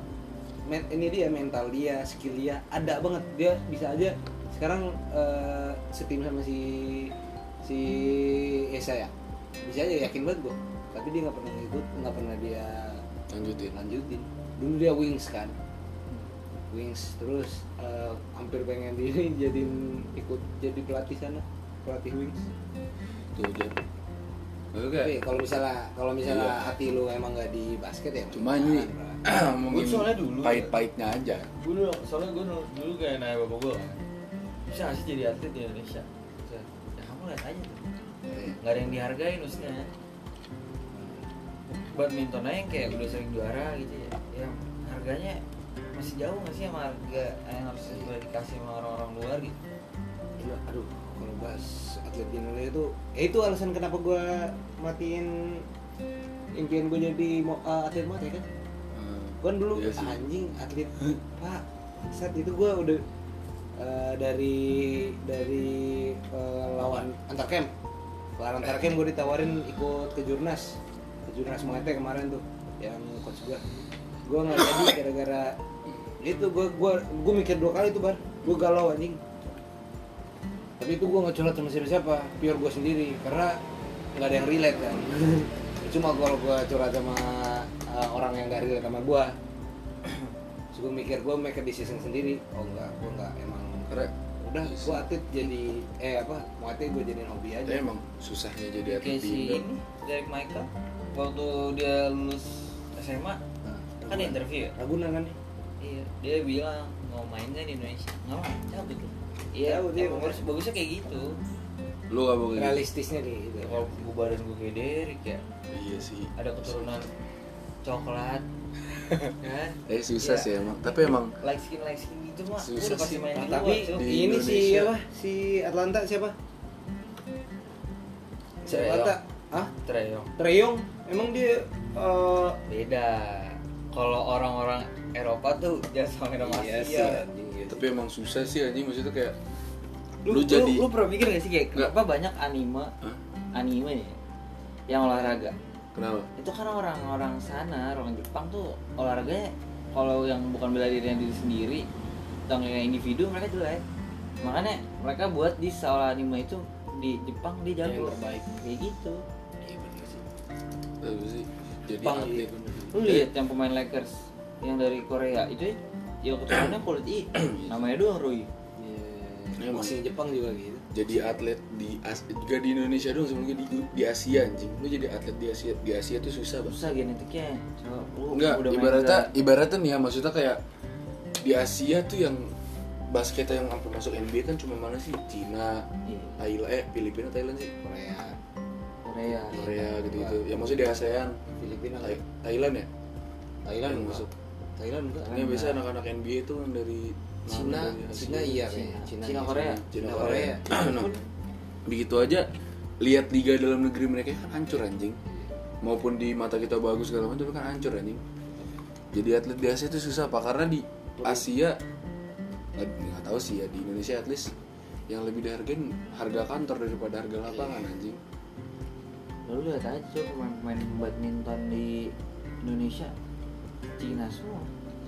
[SPEAKER 4] men- ini dia mental dia skill dia ada banget dia bisa aja sekarang eh, setim sama si si Esa ya bisa aja yakin banget gua tapi dia nggak pernah ikut nggak pernah dia
[SPEAKER 1] lanjutin.
[SPEAKER 4] lanjutin dulu dia wings kan wings terus eh, hampir pengen di jadiin ikut jadi pelatih sana pelatih wings
[SPEAKER 1] Tuh, Jan. Lu kayak-
[SPEAKER 4] tapi kalau misalnya kalau misalnya
[SPEAKER 1] Iya.
[SPEAKER 4] hati lu emang nggak di basket ya
[SPEAKER 1] Cuma ini
[SPEAKER 4] jangan, bro.
[SPEAKER 1] mungkin
[SPEAKER 2] Gua soalnya dulu.
[SPEAKER 1] pahit-pahitnya aja.
[SPEAKER 2] gue dulu soalnya gue dulu, dulu kayak nanya bapak gue bisa nggak sih jadi atlet di Indonesia Terus ya, ya kamu lihat aja tuh
[SPEAKER 4] nah.
[SPEAKER 2] nggak ada yang dihargain maksudnya badminton aja yang kayak udah sering juara gitu ya yang harganya masih jauh nggak sih sama harga yang harus boleh dikasih sama orang-orang luar gitu
[SPEAKER 4] Gila, Iya, aduh kalau bahas atlet di Indonesia itu ya itu alasan kenapa gue matiin impian gue jadi mo- eh, atlet mati kan gue kan dulu Ah,
[SPEAKER 1] Iya sih.
[SPEAKER 4] anjing atlet pak saat itu gue udah eh, dari dari eh, lawan antar camp lawan antar camp gue ditawarin ikut ke jurnas ke jurnas Muay Thai kemarin tuh yang coach gue gue nggak jadi gara-gara itu gue gue gue mikir dua kali tuh bar gue galau anjing tapi itu gue nggak curhat sama siapa-siapa pure gue sendiri karena nggak ada yang relate kan cuma kalau gue curhat sama uh, orang yang nggak relate sama gue terus gue mikir gue make a decision sendiri oh enggak gue enggak emang
[SPEAKER 1] Karena
[SPEAKER 4] udah
[SPEAKER 1] Iya
[SPEAKER 4] gue atlet jadi eh apa mau atlet gue jadiin hobi
[SPEAKER 1] itu
[SPEAKER 4] aja
[SPEAKER 1] emang susahnya jadi atlet
[SPEAKER 2] kayak
[SPEAKER 1] di
[SPEAKER 2] si
[SPEAKER 1] Indo.
[SPEAKER 2] ini Derek Michael waktu dia lulus SMA
[SPEAKER 1] Nah,
[SPEAKER 2] kan dia interview ya
[SPEAKER 4] Ragunan kan
[SPEAKER 2] Iya, dia bilang mau main nggak di Indonesia? Nggak mau, cabut tuh. Iya,
[SPEAKER 4] Cabut,
[SPEAKER 2] ya,
[SPEAKER 4] iya.
[SPEAKER 2] bagus, bagusnya kayak gitu.
[SPEAKER 1] Lu gak mau kayak gitu?
[SPEAKER 4] realistisnya nih gitu
[SPEAKER 2] Ya, Kalau
[SPEAKER 1] Oh.
[SPEAKER 2] gue badan gue kayak Derek ya,
[SPEAKER 1] Iya sih.
[SPEAKER 2] ada keturunan coklat, kan?
[SPEAKER 1] Eh susah
[SPEAKER 2] Iya.
[SPEAKER 1] sih emang. Tapi emang
[SPEAKER 2] Light skin, light skin gitu mah, gue
[SPEAKER 1] Susah
[SPEAKER 2] udah pasti
[SPEAKER 1] sih.
[SPEAKER 2] main di
[SPEAKER 4] Nah, tapi
[SPEAKER 2] luar.
[SPEAKER 1] di
[SPEAKER 2] cuy. Iya,
[SPEAKER 4] ini si
[SPEAKER 1] Indonesia.
[SPEAKER 4] apa si Atlanta siapa si
[SPEAKER 2] Treyong.
[SPEAKER 4] Atlanta ah
[SPEAKER 2] Treyong,
[SPEAKER 4] Treyong emang dia eh,
[SPEAKER 2] beda. Kalau orang-orang Eropa tuh jangan sama orang
[SPEAKER 4] iya sih
[SPEAKER 2] Asia.
[SPEAKER 4] anjing, iya sih.
[SPEAKER 1] tapi emang susah sih anjing maksudnya kayak
[SPEAKER 2] Lu,
[SPEAKER 1] lu, jadi
[SPEAKER 2] lu, pernah mikir gak sih kayak
[SPEAKER 1] Nggak.
[SPEAKER 2] kenapa banyak anime,
[SPEAKER 1] Hah?
[SPEAKER 2] anime ya, yang olahraga?
[SPEAKER 1] kenapa?
[SPEAKER 2] itu karena orang-orang sana orang Jepang tuh olahraganya kalau yang bukan bela diri yang diri sendiri atau yang individu mereka jelek makanya mereka buat di seolah anime itu di Jepang dia jago
[SPEAKER 4] Yang terbaik.
[SPEAKER 2] kayak gitu
[SPEAKER 4] Iya, bener sih.
[SPEAKER 1] Tapi sih jadi
[SPEAKER 4] Jepang,
[SPEAKER 1] atlet.
[SPEAKER 4] iya, bener.
[SPEAKER 2] lu lihat yang pemain Lakers yang dari Korea itu ya keturunannya kulit hitam namanya doang Rui
[SPEAKER 4] Iya,
[SPEAKER 1] Emang.
[SPEAKER 4] boxing Jepang juga gitu.
[SPEAKER 1] jadi atlet di As- juga di Indonesia dong sebelumnya di, di Asia anjing lu jadi atlet di Asia di Asia tuh susah banget
[SPEAKER 2] susah genetiknya Coba, lu
[SPEAKER 1] enggak
[SPEAKER 2] udah main
[SPEAKER 1] ibaratnya
[SPEAKER 2] ke-
[SPEAKER 1] ibaratnya nih ya maksudnya kayak di Asia tuh yang basket yang mampu masuk NBA kan cuma mana sih Cina
[SPEAKER 2] Iya,
[SPEAKER 1] Thailand eh Filipina Thailand sih
[SPEAKER 4] Korea
[SPEAKER 2] Korea
[SPEAKER 1] Korea gitu gitu
[SPEAKER 2] Iya.
[SPEAKER 1] ya maksudnya di ASEAN
[SPEAKER 4] Filipina
[SPEAKER 1] Thai- Thailand ya
[SPEAKER 4] Thailand
[SPEAKER 1] Yang
[SPEAKER 4] enggak
[SPEAKER 1] masuk.
[SPEAKER 4] Thailand enggak
[SPEAKER 1] ini biasa anak-anak NBA tuh yang dari
[SPEAKER 4] Iya. Cina
[SPEAKER 1] dari Asia.
[SPEAKER 4] Cina iya kayaknya
[SPEAKER 2] Cina,
[SPEAKER 4] Cina
[SPEAKER 2] Cina,
[SPEAKER 4] iya,
[SPEAKER 2] Korea
[SPEAKER 1] Cina
[SPEAKER 4] Cina
[SPEAKER 1] Korea.
[SPEAKER 4] Korea
[SPEAKER 1] Nah, begitu aja lihat liga dalam negeri mereka kan hancur anjing. Maupun di mata kita bagus segala macam tapi kan hancur anjing. Jadi atlet di Asia itu susah apa? Karena di Asia eh, nggak tahu sih ya di Indonesia at least yang lebih dihargain harga kantor daripada harga lapangan
[SPEAKER 4] Iya.
[SPEAKER 1] anjing.
[SPEAKER 2] lalu Ya lihat aja tuh pemain-pemain badminton di Indonesia Cina semua
[SPEAKER 4] Hmm.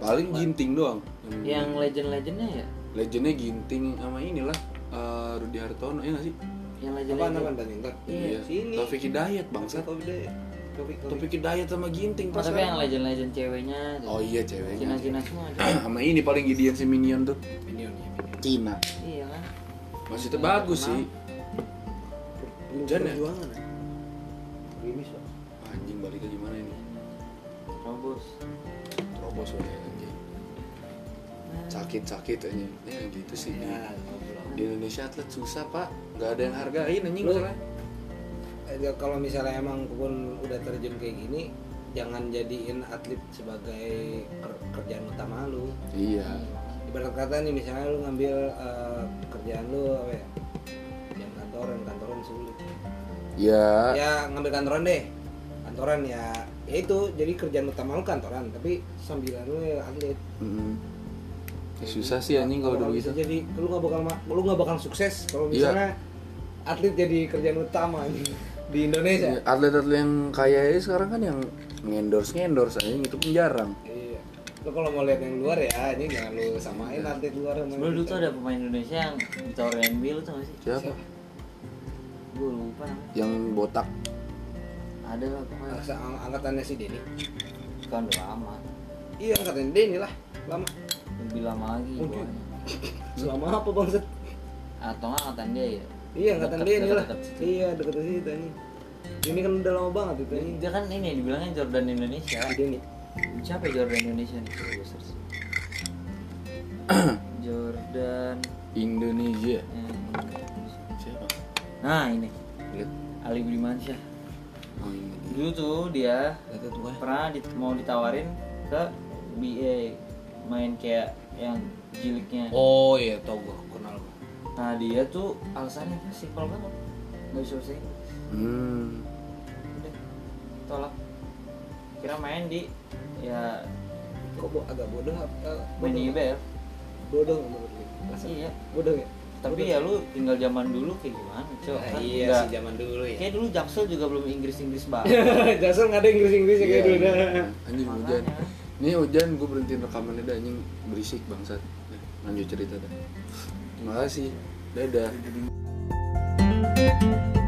[SPEAKER 1] Paling
[SPEAKER 4] Iya.
[SPEAKER 1] ginting doang. Yang
[SPEAKER 2] yang legend-legendnya ya
[SPEAKER 1] legendnya ginting sama inilah eh, Rudi Hartono ya nggak sih?
[SPEAKER 2] yang
[SPEAKER 4] apaan apaan
[SPEAKER 2] legend-legend
[SPEAKER 4] badminton
[SPEAKER 2] iya
[SPEAKER 3] sini.
[SPEAKER 1] Taufik Hidayat bangsat.
[SPEAKER 4] Topik deh Topik Topik
[SPEAKER 1] Taufik Hidayat sama ginting
[SPEAKER 2] Oh,
[SPEAKER 1] pas
[SPEAKER 2] tapi yang
[SPEAKER 1] sekarang.
[SPEAKER 2] legend-legend ceweknya tuh.
[SPEAKER 1] Oh iya ceweknya.
[SPEAKER 2] Cina-Cina semua aja.
[SPEAKER 1] sama ini paling Gideon si Minion tuh
[SPEAKER 4] Minion ya Minion.
[SPEAKER 1] Cina
[SPEAKER 2] iya kan
[SPEAKER 1] masih itu bagus sih hujan ya
[SPEAKER 3] Perjuangan.
[SPEAKER 4] Grimis Pak.
[SPEAKER 1] anjing baliknya gimana ini
[SPEAKER 2] Robos
[SPEAKER 1] terobos oleh anjing sakit sakit anjing ya gitu sih di,
[SPEAKER 4] Ya, goblok.
[SPEAKER 1] di Indonesia atlet susah pak nggak ada yang hargain anjing
[SPEAKER 4] Lu-
[SPEAKER 1] masalah
[SPEAKER 4] Eh, ya, kalau misalnya emang pun udah terjun kayak gini jangan jadiin atlet sebagai ker- kerjaan utama lu
[SPEAKER 1] iya
[SPEAKER 4] ibarat kata nih misalnya lu ngambil eh, kerjaan lu apa ya yang kantoran kantoran sulit
[SPEAKER 1] ya
[SPEAKER 4] ya ngambil kantoran deh kantoran ya ya itu jadi kerjaan utama lu kantoran tapi sambilan lu ya atlet
[SPEAKER 1] mm. Ya, susah sih anjing kalau udah
[SPEAKER 4] Kalau
[SPEAKER 1] begitu
[SPEAKER 4] bisa jadi lu nggak bakal ma- lu nggak bakal sukses kalau
[SPEAKER 1] Iya.
[SPEAKER 4] misalnya atlet jadi kerjaan utama anjing, di Indonesia
[SPEAKER 1] atlet atlet yang kaya ini sekarang kan yang ngendorse ngendorse anjing itu pun jarang
[SPEAKER 4] Iya. Lu kalau mau lihat yang luar ya, ini jangan lu samain
[SPEAKER 1] Iya.
[SPEAKER 4] atlet luar sama
[SPEAKER 2] Sebelum dulu
[SPEAKER 4] kita.
[SPEAKER 2] tuh ada pemain Indonesia yang ditawarin NBA lu tau gak sih?
[SPEAKER 1] siapa
[SPEAKER 2] Gue lupa namanya
[SPEAKER 1] yang botak
[SPEAKER 2] Ada lah pokoknya
[SPEAKER 4] Angsa- ang- angkatannya si Denny.
[SPEAKER 2] Kan udah lama
[SPEAKER 4] Iya, angkatan Denny lah. Lama.
[SPEAKER 2] Lebih lama lagi
[SPEAKER 4] Mungkin.
[SPEAKER 2] bawahnya.
[SPEAKER 4] Selama apa bangset?
[SPEAKER 2] Atau nggak angkatan dia ya
[SPEAKER 4] Iya, angkatan
[SPEAKER 2] Deket-
[SPEAKER 4] Denny lah.
[SPEAKER 2] deket-deket situ.
[SPEAKER 4] Iya, deket situ anjing. Ini kan udah lama banget itu
[SPEAKER 2] Dia-
[SPEAKER 4] anjing.
[SPEAKER 2] Dia kan ini dibilangnya Jordan Indonesia
[SPEAKER 4] Si Denny.
[SPEAKER 2] Siapa ya Jordan Indonesia nih? Coba gue search. Jordan
[SPEAKER 1] Indonesia
[SPEAKER 2] eh,
[SPEAKER 1] siapa
[SPEAKER 2] Nah ini
[SPEAKER 1] lihat
[SPEAKER 2] Ali Budimansyah
[SPEAKER 1] oh, ini.
[SPEAKER 2] Dulu tuh dia
[SPEAKER 4] Kata tua.
[SPEAKER 2] pernah dit- mau ditawarin ke BA main kayak yang jiliknya
[SPEAKER 4] Oh iya, tau gua, kenal gua.
[SPEAKER 2] nah dia tuh alasannya simpel banget nggak bisa bahasa Inggris
[SPEAKER 1] Hmm.
[SPEAKER 2] udah tolak kira main di ya
[SPEAKER 4] Kok bo- agak bodoh apa?
[SPEAKER 2] main di IBL
[SPEAKER 4] Bodoh nggak menurut lu. Rasa
[SPEAKER 2] iya
[SPEAKER 4] bodoh ya?
[SPEAKER 2] tapi ya lu tinggal zaman dulu kayak gimana cok
[SPEAKER 4] Ah,
[SPEAKER 2] kan
[SPEAKER 4] iya
[SPEAKER 2] nggak-
[SPEAKER 4] sih zaman dulu ya.
[SPEAKER 2] kayak dulu Jaksel juga belum Inggris Inggris banget
[SPEAKER 4] Jason nggak ada Inggris-Inggrisnya kayak dulu.
[SPEAKER 1] Iya, iya. Anjing hujan.
[SPEAKER 2] makanya
[SPEAKER 1] Ini hujan gue berhentiin rekamannya dah anjing berisik bangsat. Nah, Lanjut cerita dah. Terima kasih. Dadah.